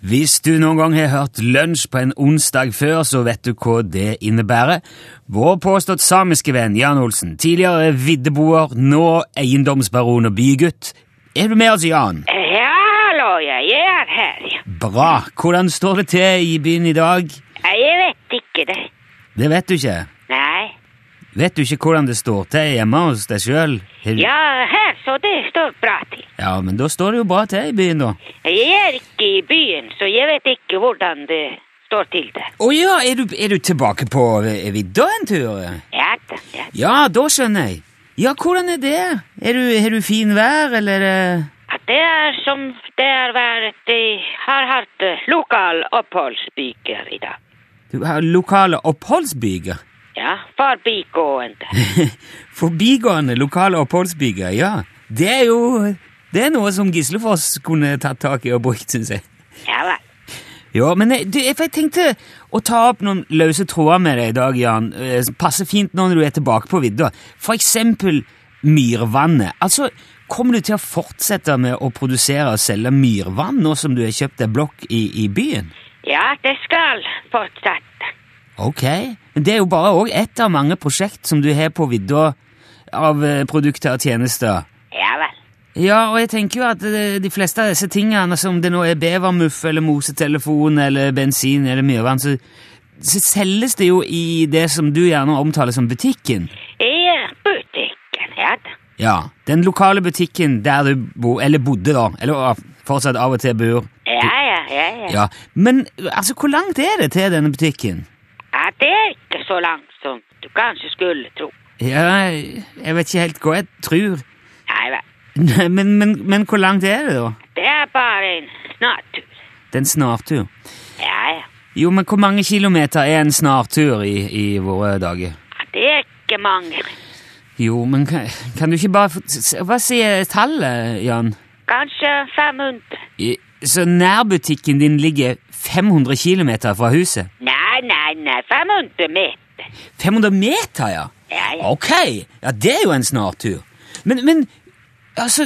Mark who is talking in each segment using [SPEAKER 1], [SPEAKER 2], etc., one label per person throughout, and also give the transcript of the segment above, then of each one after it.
[SPEAKER 1] Hvis du noen gang har hørt lunsj på en onsdag før, så vet du hva det innebærer. Vår påstått samiske venn Jan Olsen, tidligere viddeboer, nå eiendomsbaron og bygutt. Er du med oss, Jan?
[SPEAKER 2] Ja, hallo, ja, jeg er her, ja.
[SPEAKER 1] Bra. Hvordan står det til i byen i dag?
[SPEAKER 2] Nei, Jeg vet ikke det.
[SPEAKER 1] Det vet du ikke.
[SPEAKER 2] Nei.
[SPEAKER 1] Vet du ikke hvordan det står til hjemme hos deg sjøl?
[SPEAKER 2] Ja, her, så det står bra til.
[SPEAKER 1] ja, men da står det jo bra til i byen, da.
[SPEAKER 2] Jeg er ikke i byen, så jeg vet ikke hvordan det står til der.
[SPEAKER 1] Å ja, er du, er du tilbake på eh, vidda en tur?
[SPEAKER 2] Ja, da, ja.
[SPEAKER 1] Ja, da skjønner jeg. Ja, hvordan er det? Er du, er du fin vær, eller eh?
[SPEAKER 2] Ja, Det er som det har vært, de har hatt eh, lokal oppholdsbyger i dag.
[SPEAKER 1] Du har lokale oppholdsbyger?
[SPEAKER 2] Ja, forbigående.
[SPEAKER 1] Forbigående lokale oppholdsbyger, ja. Det er jo Det er noe som Gislefoss kunne tatt tak i og brukt, syns jeg.
[SPEAKER 2] Ja, vel.
[SPEAKER 1] Ja, men jeg, du, jeg for jeg tenkte å ta opp noen løse tråder med deg i dag, Jan. eh, som Passer fint nå når du er tilbake på vidda. For eksempel myrvannet. Altså, kommer du til å fortsette med å produsere og selge myrvann nå som du har kjøpt deg blokk i, i byen?
[SPEAKER 2] Ja, det skal fortsette.
[SPEAKER 1] Ok. Men det er jo bare òg ett av mange prosjekt som du har på vidda av eh, produkter og tjenester.
[SPEAKER 2] Ja, vel.
[SPEAKER 1] Ja, og jeg tenker jo at eh, de fleste av disse tingene, som det nå er bevermuff eller mosetelefon eller bensin eller myrvann, så, så selges det jo i det som du gjerne omtaler som butikken.
[SPEAKER 2] I eh, butikken, ja da.
[SPEAKER 1] Ja, den lokale butikken der du bo, eller bodde da, eller ah, fortsatt av og til bor.
[SPEAKER 2] Ja, ja, ja, ja.
[SPEAKER 1] Ja, men altså, hvor langt er det til denne butikken?
[SPEAKER 2] Ja, det er ikke så langt som du kanskje skulle tro.
[SPEAKER 1] Ja, jeg vet ikke helt hva jeg tror.
[SPEAKER 2] Nei vel.
[SPEAKER 1] Nei, Men, men, men hvor langt er det da?
[SPEAKER 2] Det er bare en snartur.
[SPEAKER 1] Det er en snartur.
[SPEAKER 2] Ja, ja.
[SPEAKER 1] Jo, men hvor mange kilometer er en snartur i, i våre dager?
[SPEAKER 2] Det er ikke mange.
[SPEAKER 1] Jo, men kan, kan du ikke bare få- s- Hva sier tallet, Jan?
[SPEAKER 2] Kanskje 500.
[SPEAKER 1] I- Så nærbutikken din ligger 500 km fra huset?
[SPEAKER 2] Nei, nei, nei. 500 meter.
[SPEAKER 1] 500 meter, ja?
[SPEAKER 2] Ja, ja.
[SPEAKER 1] Ok, ja, det er jo en snartur. Men, men altså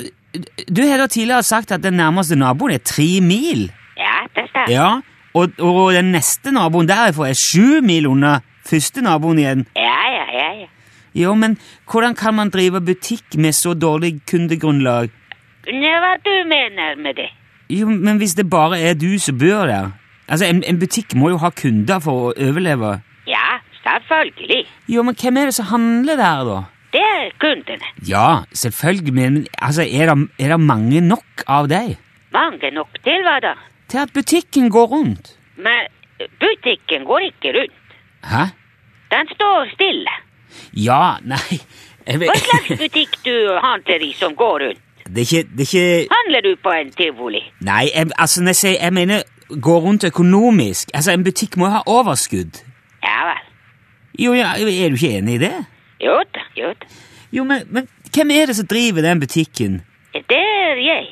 [SPEAKER 1] Du har da tidligere sagt at den nærmeste naboen er tre mil.
[SPEAKER 2] Ja, det stemmer. Ja.
[SPEAKER 1] Ja, Og, og den neste naboen derifra er sju mil unna første naboen igjen.
[SPEAKER 2] ja, ja, ja, ja.
[SPEAKER 1] Jo, men hvordan kan man drive butikk med så dårlig kundegrunnlag?
[SPEAKER 2] Nå, hva du mener med det?
[SPEAKER 1] Jo, men hvis det bare er du som bor der Altså, en, en butikk må jo ha kunder for å overleve.
[SPEAKER 2] Ja, selvfølgelig.
[SPEAKER 1] Jo, men hvem er det som handler der, da?
[SPEAKER 2] Det er kundene.
[SPEAKER 1] Ja, selvfølgelig, men altså, er det, er det mange nok av deg
[SPEAKER 2] Mange nok til, hva da?
[SPEAKER 1] til at butikken går rundt?
[SPEAKER 2] Men butikken går ikke rundt.
[SPEAKER 1] Hæ?
[SPEAKER 2] Den står stille.
[SPEAKER 1] Ja, nei jeg
[SPEAKER 2] Hva
[SPEAKER 1] vet,
[SPEAKER 2] slags butikk du handler i som går rundt?
[SPEAKER 1] Det er ikke, det er ikke
[SPEAKER 2] Handler du på en tivoli?
[SPEAKER 1] Nei, jeg, altså, når jeg, sier, jeg mener gå rundt økonomisk. Altså, En butikk må jo ha overskudd.
[SPEAKER 2] Ja vel.
[SPEAKER 1] Jo, ja, Er du ikke enig i det?
[SPEAKER 2] Jo da, jo da.
[SPEAKER 1] Jo, men, men hvem er det som driver den butikken?
[SPEAKER 2] Det er jeg.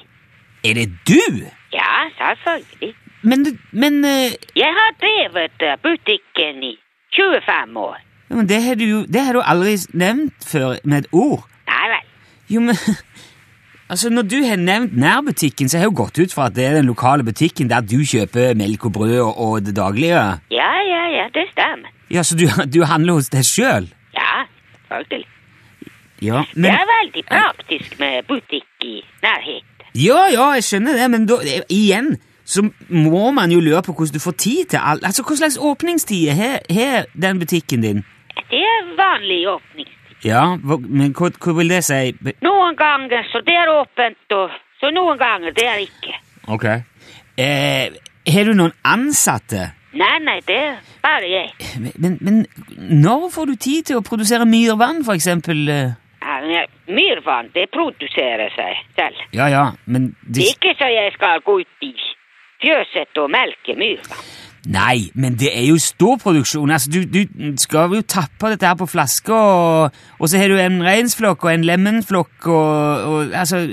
[SPEAKER 1] Er det du?
[SPEAKER 2] Ja, selvfølgelig.
[SPEAKER 1] Men, du- men, eh,
[SPEAKER 2] Jeg har drevet eh, butikken i 25 år.
[SPEAKER 1] ja, men det har du jo det har du aldri nevnt før med et ord.
[SPEAKER 2] Nei vel.
[SPEAKER 1] Jo, men Altså, Når du har nevnt nærbutikken, så har jeg jo gått ut fra at det er den lokale butikken der du kjøper melk og brød og, og det daglige.
[SPEAKER 2] Ja, ja, ja, det stemmer.
[SPEAKER 1] Ja, Så du, du handler hos deg sjøl?
[SPEAKER 2] Ja, selvfølgelig.
[SPEAKER 1] Ja,
[SPEAKER 2] Det
[SPEAKER 1] men,
[SPEAKER 2] er veldig praktisk med butikk i nærheten.
[SPEAKER 1] ja, ja, jeg skjønner det, men da, eh, igjen så må man jo lure på hvordan du får tid til alt. Altså, Hva slags åpningstid har har den butikken din?
[SPEAKER 2] Det er vanlig åpning.
[SPEAKER 1] Ja, hva, men hva, hva vil det si?
[SPEAKER 2] Noen ganger så det er åpent, og så noen ganger det er ikke.
[SPEAKER 1] Ok. Eh, har du noen ansatte?
[SPEAKER 2] Nei, nei, det er bare jeg.
[SPEAKER 1] Men, men når får du tid til å produsere myrvann, for eksempel? eh?
[SPEAKER 2] Ja, men Myrvann, det produserer seg selv.
[SPEAKER 1] Ja, ja, men det,
[SPEAKER 2] Ikke så jeg skal gå ut i fjøset og melke myrvann.
[SPEAKER 1] Nei, men det er jo stor produksjon. Altså, du, du skal jo tappe dette her på flasker, og, og så har du en reinsflokk og en lemenflokk og, og Altså,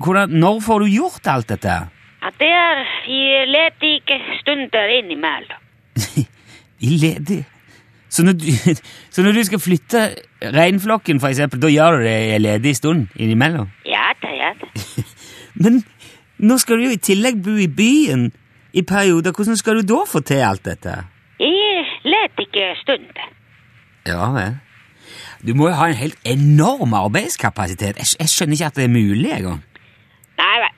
[SPEAKER 1] hvordan, når får du gjort alt dette? her?
[SPEAKER 2] Ja, det er i ledige stunder innimellom.
[SPEAKER 1] I ledig så når, du, så når du skal flytte reinflokken, for eksempel, da gjør du det i en ledig stund innimellom?
[SPEAKER 2] Ja da, ja da.
[SPEAKER 1] Men nå skal du jo i tillegg bo i byen, i perioder. Hvordan skal du da få til alt dette?
[SPEAKER 2] I let ikke stund.
[SPEAKER 1] Ja vel. Du må jo ha en helt enorm arbeidskapasitet. Jeg, skj- jeg skjønner ikke at det er mulig engang.
[SPEAKER 2] Nei vel.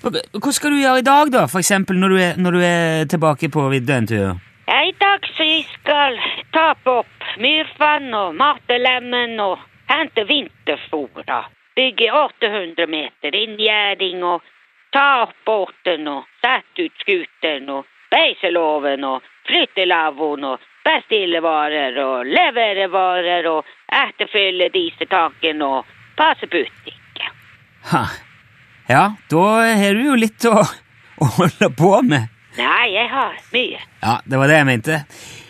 [SPEAKER 1] Hva skal du gjøre i dag, da? For eksempel når du er, når du er tilbake på vidda en tur?
[SPEAKER 2] Ja, I dag så jeg skal tape opp myrvann og matelemmen og hente vinterfora. Bygge 800 meter inngjerding og ta opp båten og sette ut skuten og beiseloven og flyttelavvoen og bestillevarer og leverevarer og etterfylle disetaken og passe butikken.
[SPEAKER 1] Ha. Ja, da har du jo litt å, å holde på med.
[SPEAKER 2] Nei, jeg har mye.
[SPEAKER 1] Ja, det var det jeg mente.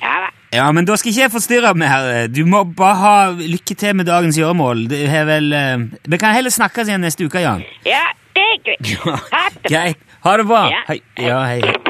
[SPEAKER 2] Ja, vel.
[SPEAKER 1] Ja, men da skal ikke jeg forstyrre mer. Du må bare ha lykke til med dagens gjøremål. Du har vel eh, Vi kan heller snakkes igjen neste uke, Jan.
[SPEAKER 2] ja det er greit. Ha det bra.
[SPEAKER 1] Greit. Ha det bra.
[SPEAKER 2] Ja.
[SPEAKER 1] Hei. Ja, hei.